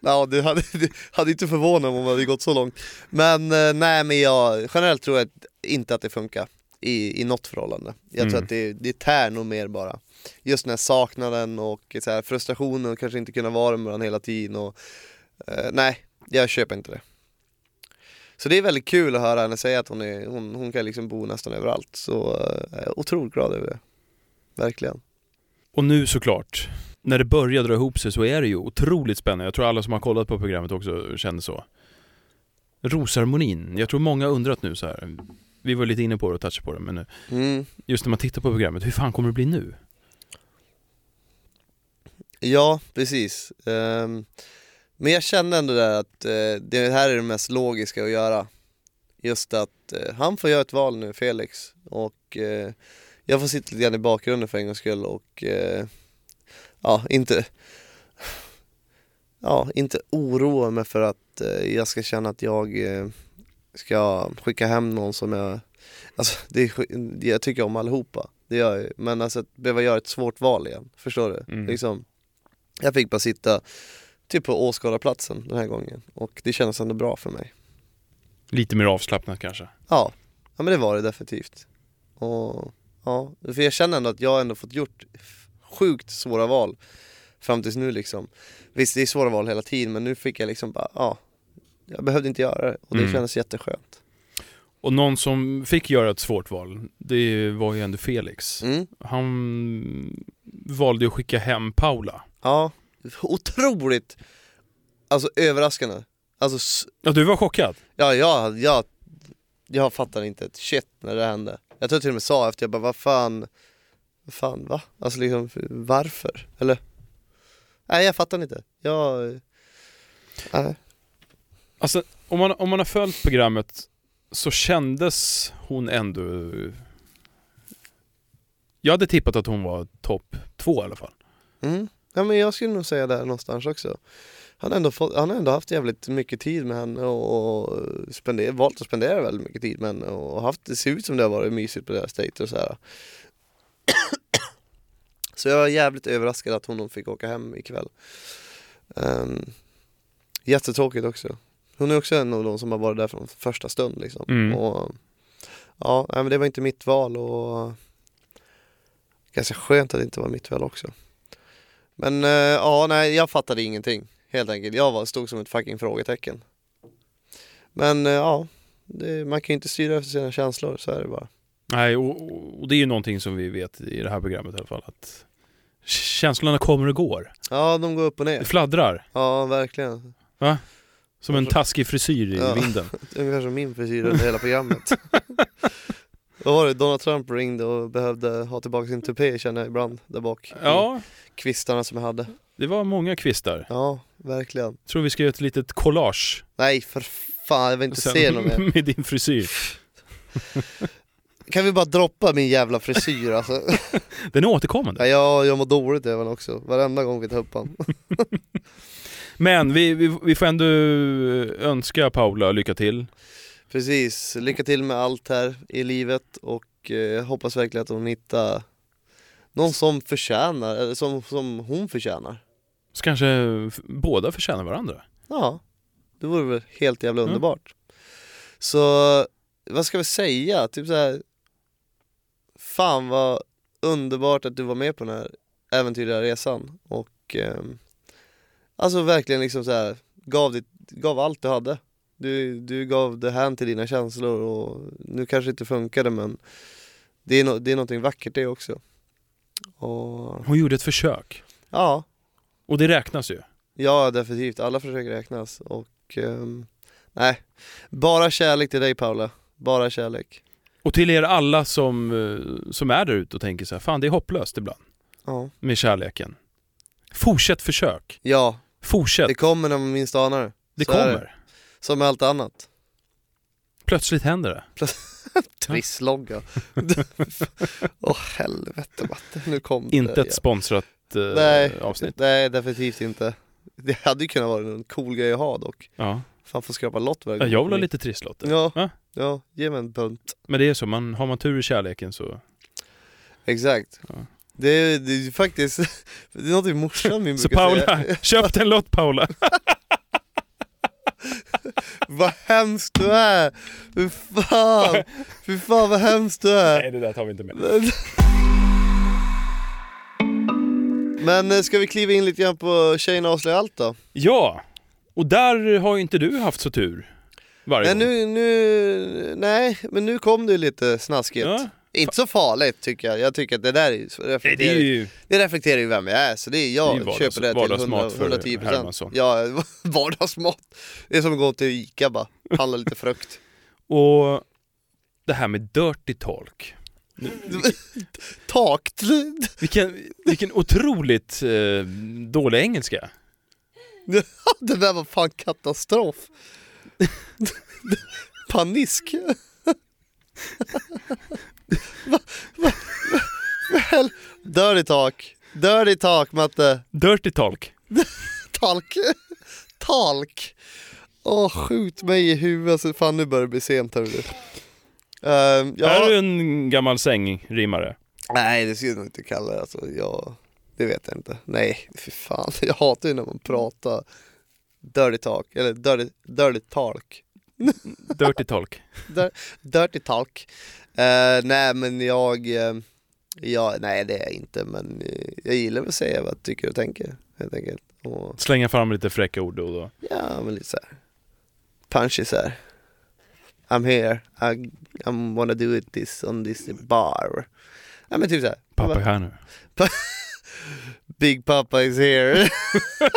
S1: ja, det hade, det hade inte förvånat mig om det hade gått så långt. Men eh, nej, men jag, generellt tror jag inte att det funkar i, i något förhållande. Jag tror
S2: Mm.
S1: att det, det tär nog mer bara. Just den här saknaden och så här frustrationen och kanske inte kunna vara med varandra hela tiden. Och, eh, nej, jag köper inte det. Så det är väldigt kul att höra henne säga att hon, är, hon, hon kan liksom bo nästan överallt. Så eh, jag är otroligt glad över det. Verkligen.
S2: Och nu såklart, när det börjar dra ihop sig så är det ju otroligt spännande. Jag tror alla som har kollat på programmet också känner så. Rosharmonin, jag tror många har undrat nu så här. Vi var lite inne på det och touchade på det, men nu-
S1: Mm.
S2: just när man tittar på programmet, hur fan kommer det bli nu?
S1: Ja, precis. Ehm, men jag kände ändå där att eh, det här är det mest logiska att göra. Just att eh, han får göra ett val nu, Felix. Och eh, jag får sitta lite grann i bakgrunden för en gångs skull och eh, ja, inte ja, inte oroa mig för att eh, jag ska känna att jag eh, ska skicka hem någon som jag Alltså, det är, sk- jag tycker om allihopa, det gör jag ju. Men alltså att behöva göra ett svårt val igen, förstår du?
S2: Mm.
S1: Liksom, jag fick bara sitta typ på åskådarplatsen den här gången och det kändes ändå bra för mig.
S2: Lite mer avslappnat kanske.
S1: Ja, ja men det var det definitivt. Och, ja, för jag känner ändå att jag ändå fått gjort f- sjukt svåra val fram tills nu liksom. Visst det är svåra val hela tiden men nu fick jag liksom bara, ja, jag behövde inte göra det och det
S2: Mm.
S1: kändes jätteskönt.
S2: Och någon som fick göra ett svårt val, det var ju ändå Felix.
S1: Mm.
S2: Han valde att skicka hem Paula.
S1: Ja, otroligt alltså överraskande. Alltså, s-
S2: Ja, du var chockad?
S1: ja, jag, jag, jag fattar inte ett shit när det hände. Jag tror jag till och med sa efter, jag bara vad fan, vad fan va? Alltså liksom varför? Eller? Nej jag fattar inte. Jag... Nej.
S2: Alltså, om man, om man har följt programmet så kändes hon ändå... Jag hade tippat att hon var topp två i alla fall.
S1: Mm. Ja men jag skulle nog säga där någonstans också. Han har ändå, fått, han har ändå haft jävligt mycket tid med henne och, och spender, valt att spendera väldigt mycket tid med henne och haft, det ser ut som det har varit mysigt på deras dejter och så här. Så jag var jävligt överraskad att hon fick åka hem ikväll. Um, jättetråkigt också. Hon är också en av de som har varit där från första stund liksom.
S2: Mm.
S1: Och, ja, nej, men det var inte mitt val och ganska skönt att det inte var mitt val också. Men eh, ja, nej, jag fattade ingenting helt enkelt. Jag var, stod som ett fucking frågetecken. Men eh, ja, det, man kan ju inte styra efter sina känslor, så är det bara.
S2: Nej, och, och det är ju någonting som vi vet i det här programmet i alla fall att känslorna kommer och går.
S1: Ja, de går upp och
S2: Det
S1: ner.
S2: fladdrar,
S1: Ja, verkligen.
S2: som en taskig frisyr i
S1: Ja.
S2: vinden.
S1: *laughs* Ungefär som min frisyr under hela programmet. Vad var det? Donald Trump ringde och behövde ha tillbaka sin tupé känner jag ibland där bak. I
S2: Ja,
S1: Kvistarna som jag hade.
S2: det var många kvistar.
S1: Ja, verkligen.
S2: Tror vi ska göra ett litet collage.
S1: Nej för fan, jag vill inte se något mer.
S2: *laughs* med din frisyr.
S1: Kan vi bara droppa min jävla frisyr alltså?
S2: Den är
S1: Ja,
S2: återkommande.
S1: jag, jag mår dåligt även också, varenda gång vi tar upp han.
S2: Men vi, vi, vi får ändå önska Paula lycka till.
S1: Precis, lycka till med allt här i livet och eh, jag hoppas verkligen att hon hittar någon som förtjänar, eller som, som hon förtjänar.
S2: Så kanske f- båda förtjänar varandra.
S1: Ja, det vore väl helt jävla
S2: Mm.
S1: underbart. Så vad ska vi säga? Typ så här. Fan vad underbart att du var med på den här äventyrliga resan och ehm, alltså verkligen liksom så här gav, ditt, gav allt du hade. Du, du gav det här till dina känslor och nu kanske inte funkade men det är, no, det är någonting vackert det också. Och
S2: Hon gjorde ett försök.
S1: ja,
S2: Och det räknas ju.
S1: Ja, definitivt. Alla försök räknas. Och ehm, nej, bara kärlek till dig Paula. Bara kärlek.
S2: Och till er alla som, eh, som är där ute och tänker så här, fan det är hopplöst ibland
S1: Ja,
S2: med kärleken. Fortsätt försök.
S1: ja
S2: Fortsätt.
S1: det kommer när man minst anar det.
S2: Det
S1: så är
S2: kommer.
S1: Som med allt annat.
S2: Plötsligt händer det. *laughs*
S1: Trisslogga. Åh helvete Matte, nu kom
S2: Inte
S1: det.
S2: ett sponsrat eh,
S1: Nej.
S2: avsnitt.
S1: Nej, definitivt inte. Det hade ju kunnat vara en cool grej att ha dock.
S2: Ja.
S1: Fan får skrapa lott varje
S2: Ja,
S1: gång.
S2: Jag vill ha lite trisslotter.
S1: Ja,
S2: Va?
S1: ja, ge mig en bunt.
S2: Men det är så, man, har man tur i kärleken så,
S1: Exakt.
S2: Ja.
S1: Det, är, det är ju faktiskt, *laughs* det är något min morsan min
S2: så
S1: brukar säga.
S2: Paula, *laughs* köp en lott Paula!
S1: Vad hemskt du är! Fy fan! Fy fan vad hemskt du är!
S2: Nej det där tar vi inte med.
S1: Men eh, ska vi kliva in lite grann på Tjejerna avslöjar allt då?
S2: Ja, och där har ju inte du haft så tur varje
S1: Nej,
S2: gång.
S1: nu, nu, nej, men nu kom det ju lite snaskigt.
S2: Ja.
S1: Inte så farligt tycker jag. Jag tycker att det där är ju-
S2: Nej, det
S1: reflekterar,
S2: är
S1: ju...
S2: ju
S1: det reflekterar ju vem jag är, så det är jag
S2: Det är ju vardags-
S1: köper det till 100,
S2: vardagsmat för
S1: 110 procent.
S2: Hermansson.
S1: Ja, *laughs* vardagsmat. Det är som att gå till Ica bara, handla lite
S2: *laughs*
S1: frukt.
S2: Och det här med dirty talk.
S1: Takt!
S2: Vilken, vilken otroligt eh, dålig engelska.
S1: Det där var fan katastrof. Panisk. Va- va- Väl, dirty talk. Dirty talk Matte.
S2: Dirty talk.
S1: Talk. Talk. Åh skjut mig i huvudet. så Fan nu börjar det bli sent här du. Ehm,
S2: Är
S1: ja.
S2: du en gammal sängrimmare?
S1: Nej det skulle jag nog inte kalla det. Alltså, jag... Det vet jag inte. Nej för fan. Jag hatar ju när man pratar dirty talk. Eller dirty, dirty talk.
S2: Dirty talk.
S1: Dir- Dirty talk. Eh, nej men jag, eh, ja, nej det är jag inte men eh, jag gillar väl att säga vad jag tycker och tänker helt enkelt. Och,
S2: Slänga fram lite fräcka ord då och då.
S1: ja men lite såhär, punchy såhär. I'm here, I, I'm wanna do it this on this bar. Ja men typ såhär.
S2: Pappa är här nu.
S1: Big Papa is here.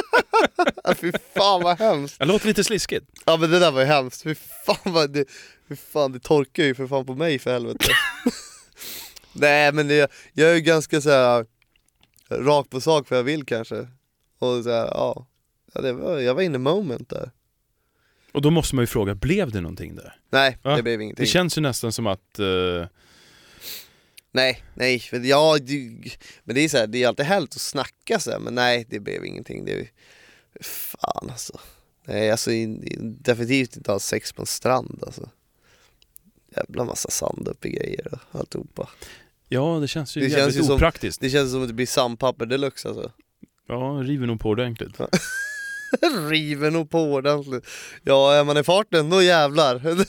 S1: *laughs* Fy fan vad hemskt.
S2: Jag låter lite sliskigt.
S1: Ja men det där var ju hemskt, fy fan vad det, fy fan, det torkar ju för fan på mig för helvete *laughs* Nej men det, jag är ju ganska så här rakt på sak för jag vill kanske Och så här, ja, ja det var, jag var inne i moment där
S2: Och då måste man ju fråga, blev det någonting där?
S1: Nej,
S2: Ja,
S1: det blev
S2: Det
S1: ingenting
S2: känns ju nästan som att... eh,
S1: Nej, nej, för ja, du, men det är så här, det är alltid härligt att snacka så här, men nej det blev ingenting det, Fan alltså Nej alltså in- definitivt inte ha sex på en strand alltså Jävla massa sand upp i grejer och alltihopa
S2: ja, det känns ju
S1: Det känns
S2: jävligt
S1: ju som-
S2: opraktiskt.
S1: Det känns som att det blir sandpapper deluxe alltså.
S2: Ja, river nog på ordentligt.
S1: *laughs* River nog på ordentligt. Ja, är man i farten då jävlar. *laughs*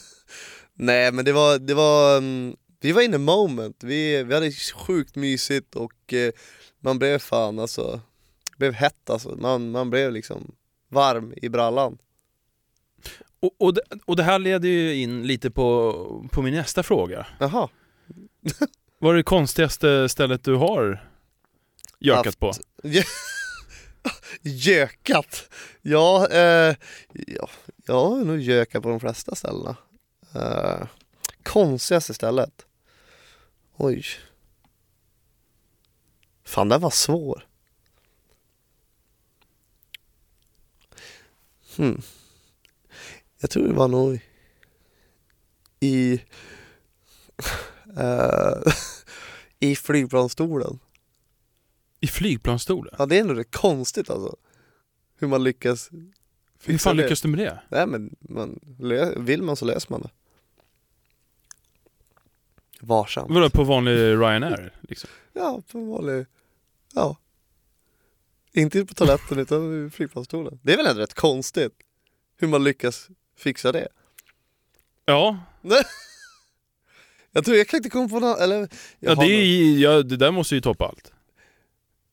S1: Nej men det var, det var, mm, vi var inne i moment. Vi, vi hade sjukt mysigt och eh, man blev fan alltså, blev hett alltså. Man, man blev liksom varm i brallan.
S2: Och, och, det, och det här leder ju in lite på, på min nästa fråga.
S1: Jaha.
S2: Vad är det konstigaste stället du har gökat
S1: Haft.
S2: på?
S1: *laughs* Gökat! Ja, eh, ja, jag har nog gökat på de flesta ställena. Eh, konstigaste stället. Oj. Fan, den var svår. Hmm. Jag tror det var nog i... *laughs* eh, *laughs* I flygplansstolen.
S2: I flygplansstolen?
S1: Ja, det är ändå rätt konstigt alltså. Hur man lyckas
S2: Hur fan
S1: det.
S2: lyckas du med det?
S1: Nej men man, lö- vill man så löser man det. Varsamt.
S2: Vadå, på vanlig Ryanair? Liksom.
S1: Ja, på en vanlig... Ja. Inte på toaletten utan i flygplansstolen. Det är väl ändå rätt konstigt hur man lyckas fixa det.
S2: Ja,
S1: Jag tror jag kan inte komma på något, eller... jag
S2: ja,
S1: har
S2: det, är,
S1: någon-
S2: ju- ja det där måste ju toppa allt.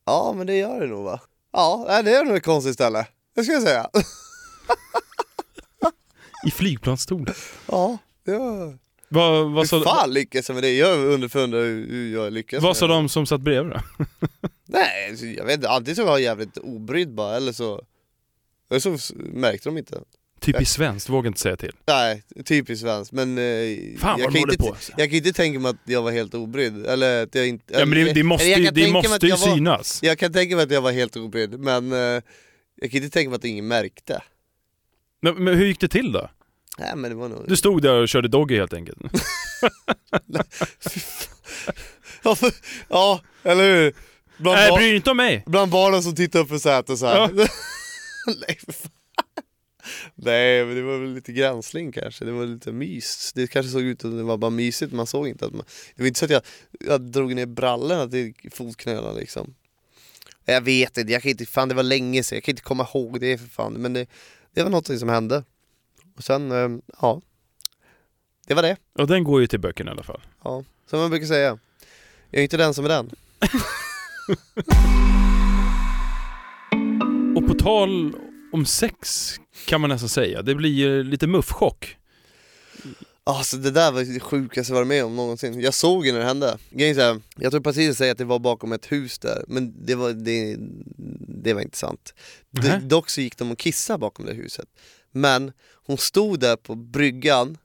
S1: ja men det gör det nog va? Ja, nej, det är nog ett konstigt ställe. Det ska jag säga. *laughs*
S2: I flygplansstolen?
S1: Ja, det var...
S2: Vad, vad,
S1: hur
S2: sa,
S1: fan lyckas jag med det? Jag underfundar hur hur jag lyckas
S2: vad
S1: med
S2: sa
S1: det.
S2: de som satt bredvid då?
S1: Nej, alltså, jag vet inte. Antingen så var jag jävligt obrydd bara, eller så... Eller så s- märkte de inte.
S2: Typiskt Typ svenskt, vågar inte säga till.
S1: Nej, typiskt svenskt. Men eh,
S2: Fan
S1: jag,
S2: vad
S1: kan
S2: de håller
S1: inte,
S2: på alltså.
S1: jag kan inte tänka mig att jag var helt obrydd. Eller att jag inte...
S2: Ja men det, det
S1: eller
S2: måste
S1: jag
S2: ju,
S1: kan
S2: det
S1: tänka mig att
S2: måste ju
S1: jag var-
S2: synas.
S1: Jag kan tänka mig att jag var helt obrydd, men eh, jag kan inte tänka mig att ingen märkte.
S2: Men, men hur gick det till då?
S1: Nej men det var nog...
S2: Du stod där och körde Doggy helt enkelt.
S1: *laughs* Ja, för- ja, eller hur? Bland,
S2: Nej,
S1: bar-
S2: bry dig inte om mig!
S1: bland barnen som tittar upp för sätet så här.
S2: Ja.
S1: *laughs* Nej, för fan. Nej men det var väl lite gränsling kanske, det var lite mys. Det kanske såg ut att det var bara mysigt, man såg inte att man... Det var inte så att jag, jag drog ner brallorna till fotknölarna liksom. Jag vet inte, jag kan inte, fan det var länge sedan, jag kan inte komma ihåg det för fan. Men det, det var något som hände. Och sen, eh, ja. Det var det.
S2: Ja den går ju till böckerna i alla fall.
S1: Ja, som man brukar säga. Jag är inte den som är den.
S2: Och på tal om sex kan man nästan säga, det blir ju lite muffchock.
S1: Alltså det där var det sjukaste jag varit med om någonsin. Jag såg ju när det hände. Grejen är så här, jag tror precis att säga att det var bakom ett hus där, men det var, det, det var inte sant. Det,
S2: Nähä.
S1: dock så gick de och kissade bakom det huset. Men hon stod där på bryggan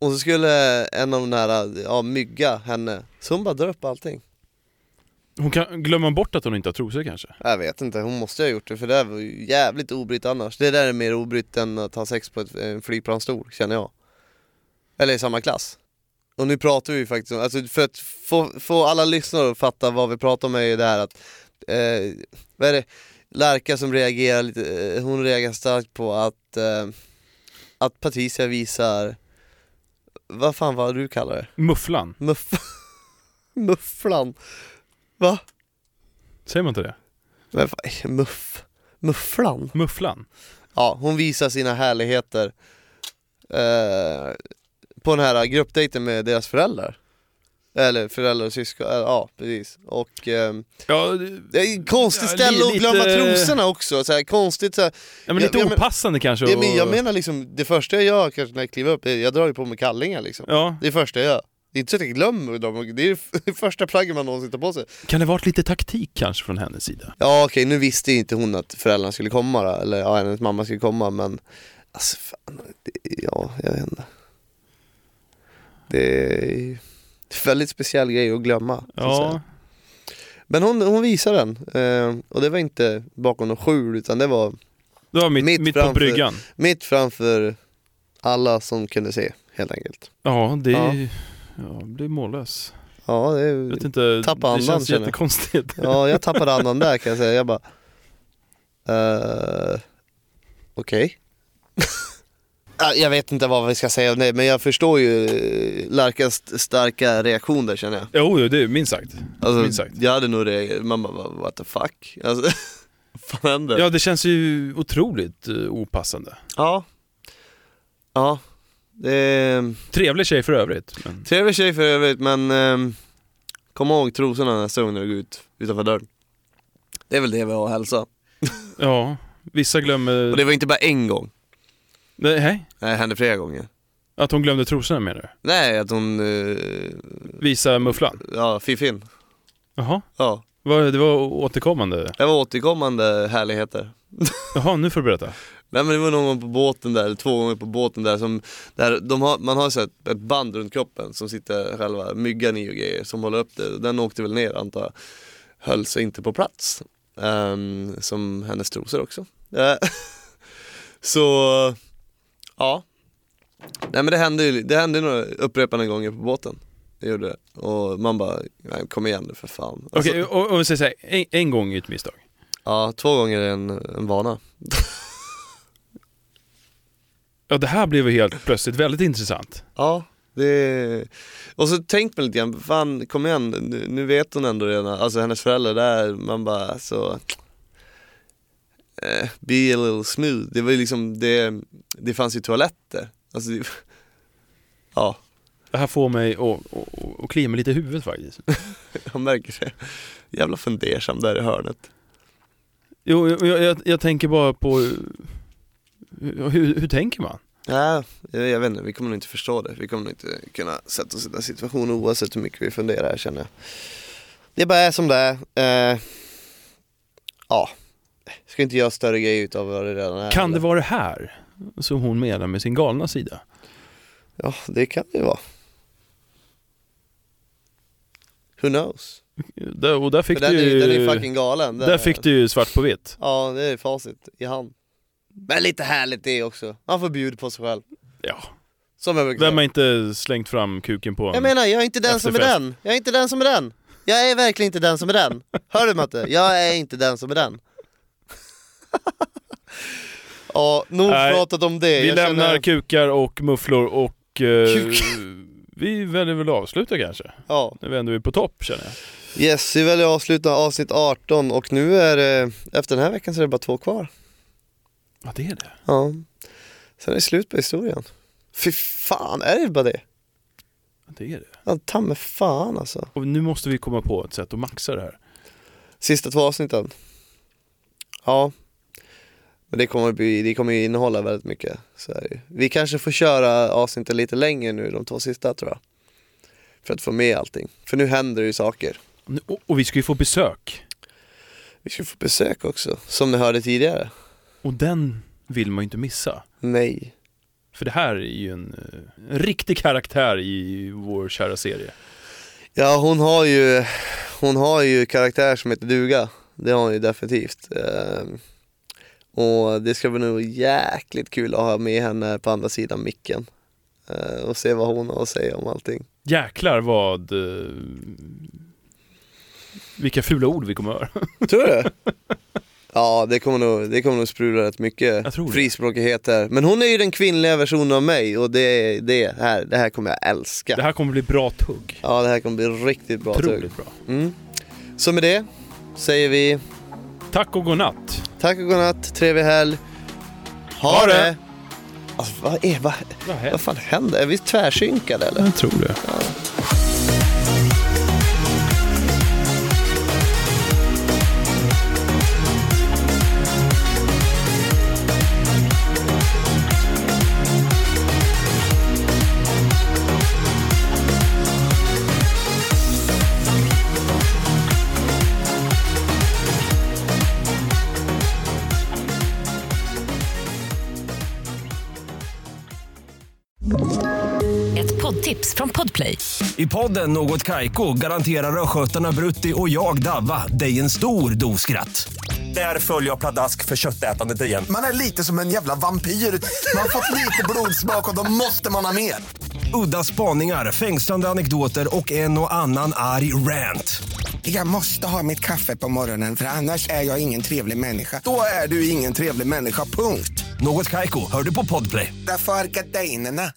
S1: och så skulle en av de där, ja, mygga henne. Så hon bara drar upp allting.
S2: Hon kan, glömmer bort att hon inte har trosor kanske?
S1: Jag vet inte, hon måste ju ha gjort det för det där var ju jävligt obrytt annars. Det där är mer obrytt än att ha sex på ett, en flygplansstol känner jag. Eller i samma klass. Och nu pratar vi ju faktiskt om, alltså för att få, få alla lyssnare att fatta vad vi pratar om är ju det här att, eh, vad är det, Lärka som reagerar lite, eh, hon reagerar starkt på att, eh, att Patricia visar, vad fan var det du kallar det?
S2: Mufflan,
S1: Muff- *laughs* mufflan? Va?
S2: säger man inte det?
S1: Men fan, muff, mufflan?
S2: Mufflan?
S1: Ja, hon visar sina härligheter eh, på den här gruppdejten med deras föräldrar. Eller föräldrar och syskon, eller, ja precis. Och eh,
S2: Ja, det-
S1: det är ett konstigt
S2: Ja, li-
S1: ställe att
S2: lite-
S1: glömma trosorna också, så här, konstigt så här.
S2: ja men
S1: Ja,
S2: lite
S1: ja, men-
S2: opassande kanske?
S1: Det, men Jag
S2: och-
S1: menar liksom, det första jag gör kanske när jag kliver upp, är- jag drar ju på mig kallingar liksom.
S2: Ja,
S1: Det är det första jag gör. Det är inte så att jag glömmer dem, det är det *laughs* första plagget man någonsin tar på sig.
S2: kan det varit lite taktik kanske från hennes sida?
S1: Ja okej, nu visste ju inte hon att föräldrarna skulle komma då, eller ja, hennes mamma skulle komma men alltså fan, det, ja jag vet inte. Det är ju en väldigt speciell grej att glömma. så att
S2: Ja,
S1: säga. Men hon, hon visar den eh, och det var inte bakom någon skjul utan det var
S2: det var mitt,
S1: Mitt
S2: mitt, på
S1: framför-
S2: bryggan.
S1: mitt framför alla som kunde se helt enkelt.
S2: Ja, det
S1: Ja.
S2: Ja, jag blir mållös.
S1: Ja, det,
S2: Jag vet
S1: är-
S2: inte,
S1: Tappa
S2: det
S1: andan,
S2: känns
S1: känner jag.
S2: jättekonstigt.
S1: ja jag tappade andan där kan jag säga, jag bara eh, Okej. *laughs* Ja, jag vet inte vad vi ska säga om det, men jag förstår ju eh, Larkas st- starka reaktion där känner jag.
S2: *laughs* Jo, jo, det är minst sagt. Minst
S1: Alltså,
S2: sagt.
S1: jag hade nog reagerat, man bara what the fuck? Alltså, vad fan händer?
S2: Ja, det känns ju otroligt eh, opassande.
S1: Ja. Ja. Det är
S2: Trevlig tjej för övrigt. Men...
S1: trevlig tjej för övrigt men ehm, kom ihåg trosorna nästa gång när du går ut utanför dörren. Det är väl det vi har att hälsa.
S2: Ja, vissa glömmer...
S1: Och det var inte bara en gång,
S2: Nej, hej.
S1: Nej, det hände flera gånger.
S2: att hon glömde trosorna menar du?
S1: Nej, att hon, eh,
S2: Visa mufflan?
S1: ja, fiffin.
S2: Jaha,
S1: Ja,
S2: Vad- det var återkommande.
S1: det var återkommande härligheter.
S2: Jaha, nu får du berätta.
S1: Nej men det var någon gång på båten där, eller två gånger på båten där som, där de har, man har så här ett band runt kroppen som sitter själva myggan i och grejer som håller upp det. Den åkte väl ner antar jag, höll sig inte på plats. Ehm, som hennes trosor också. Eh, *laughs* så, ja. Nej men det hände ju, det hände några upprepade gånger på båten. Det gjorde det. Och man bara, nej, kom igen nu för fan. Alltså,
S2: Okej, och, och vi säger så här, en, en gång är ett misstag.
S1: Ja, två gånger är en, en vana.
S2: Ja, det här blev ju helt plötsligt väldigt intressant.
S1: Ja, det... Och så tänk mig lite grann, fan kom igen, nu, nu vet hon ändå redan, alltså hennes föräldrar där, man bara alltså eh, Be a little smooth, det var ju liksom, det, det fanns ju toaletter. Alltså, det, *laughs* ja,
S2: Det här får mig att- att att klia mig lite i huvudet faktiskt.
S1: jag märker det. Jävla fundersam där i hörnet.
S2: Jo, jag, jag- jag, jag tänker bara på hur, hur, hur tänker man?
S1: Ja, jag, jag vet inte, vi kommer nog inte förstå det. Vi kommer nog inte kunna sätta oss i den situationen oavsett hur mycket vi funderar här känner jag. Det bara är som det är. Eh, ja, ska inte göra större grejer utav vad det redan är.
S2: Kan det
S1: eller?
S2: vara det här som hon menar med sin galna sida?
S1: Ja, det kan det ju vara. Who knows?
S2: Där, och där fick
S1: För den,
S2: du
S1: är,
S2: ju,
S1: ju- den är ju fucking galen. Den
S2: där
S1: är-
S2: fick du ju svart på vitt.
S1: Ja, det är facit i hand. Men lite härligt det också. Man får bjuda på sig själv.
S2: Ja.
S1: Som jag brukar säga.
S2: Vem har inte slängt fram kuken på en?
S1: Jag menar, jag är inte den som är
S2: Efterfest.
S1: den. Jag är inte den som är den. Jag är verkligen inte den som är den. Hör du Matte? Jag är inte den som är den. *laughs* ja, nog
S2: Nej,
S1: pratat om det.
S2: vi
S1: Jag
S2: lämnar
S1: känner-
S2: kukar och mufflor och... eh,
S1: Kuk.
S2: *laughs* vi väljer väl att avsluta kanske.
S1: Ja.
S2: Nu vänder vi på topp känner jag.
S1: Yes, vi väljer att avsluta avsnitt 18 och nu är det, efter den här veckan så är det bara två kvar.
S2: Ja, det är det.
S1: Ja. Sen är det slut på historien. Fy fan, är det bara det?
S2: Ja, Det är det.
S1: Ja, ta mig fan alltså.
S2: Och nu måste vi komma på ett sätt att maxa det här.
S1: Sista två avsnitten. Ja. Men det kommer, bli, det kommer ju innehålla väldigt mycket. Så är det. ju. Vi kanske får köra avsnitten lite längre nu, de två sista tror jag. För att få med allting. För nu händer det ju saker.
S2: Nu- Och, och vi ska ju få besök.
S1: Vi ska få besök också, som ni hörde tidigare.
S2: Och den vill man ju inte missa.
S1: Nej.
S2: För det här är ju en, eh, en riktig karaktär i vår kära serie.
S1: Ja, hon har ju, hon har ju karaktär som heter duga. Det har hon ju definitivt. Ehm, och det ska bli nog jäkligt kul att ha med henne på andra sidan micken. Ehm, och se vad hon har att säga om allting.
S2: Jäklar vad... eh, vilka fula ord vi kommer att höra.
S1: Tror du det? *laughs* Ja, det kommer nog, det kommer nog sprudla rätt mycket
S2: Jag tror det.
S1: frispråkigheter. Men hon är ju den kvinnliga versionen av mig och det, det, här, det här kommer jag älska.
S2: Det här kommer bli bra tugg.
S1: Ja, det här kommer bli riktigt bra tugg.
S2: Otroligt bra.
S1: Mm. Så med det säger vi
S2: Tack och godnatt.
S1: tack och godnatt, trevlig helg. Ha,
S2: Ha det!
S1: det! Alltså, vad, är, vad,
S2: Vad
S1: vad fan händer? Är vi tvärsynkade eller?
S2: Jag tror det.
S5: Ett poddtips från Podplay.
S6: I podden Något Kaiko garanterar östgötarna Brutti och jag, Davva, dig en stor dos skratt. Där följer jag pladask för köttätandet igen.
S7: Man är lite som en jävla vampyr. Man har fått lite blodsmak och då måste man ha mer.
S6: Udda spaningar, fängslande anekdoter och en och annan arg rant.
S7: Jag måste ha mitt kaffe på morgonen för annars är jag ingen trevlig människa. Då är du ingen trevlig människa, punkt.
S6: Något Kaiko, hör du på Podplay.
S7: Därför arkadeinerna.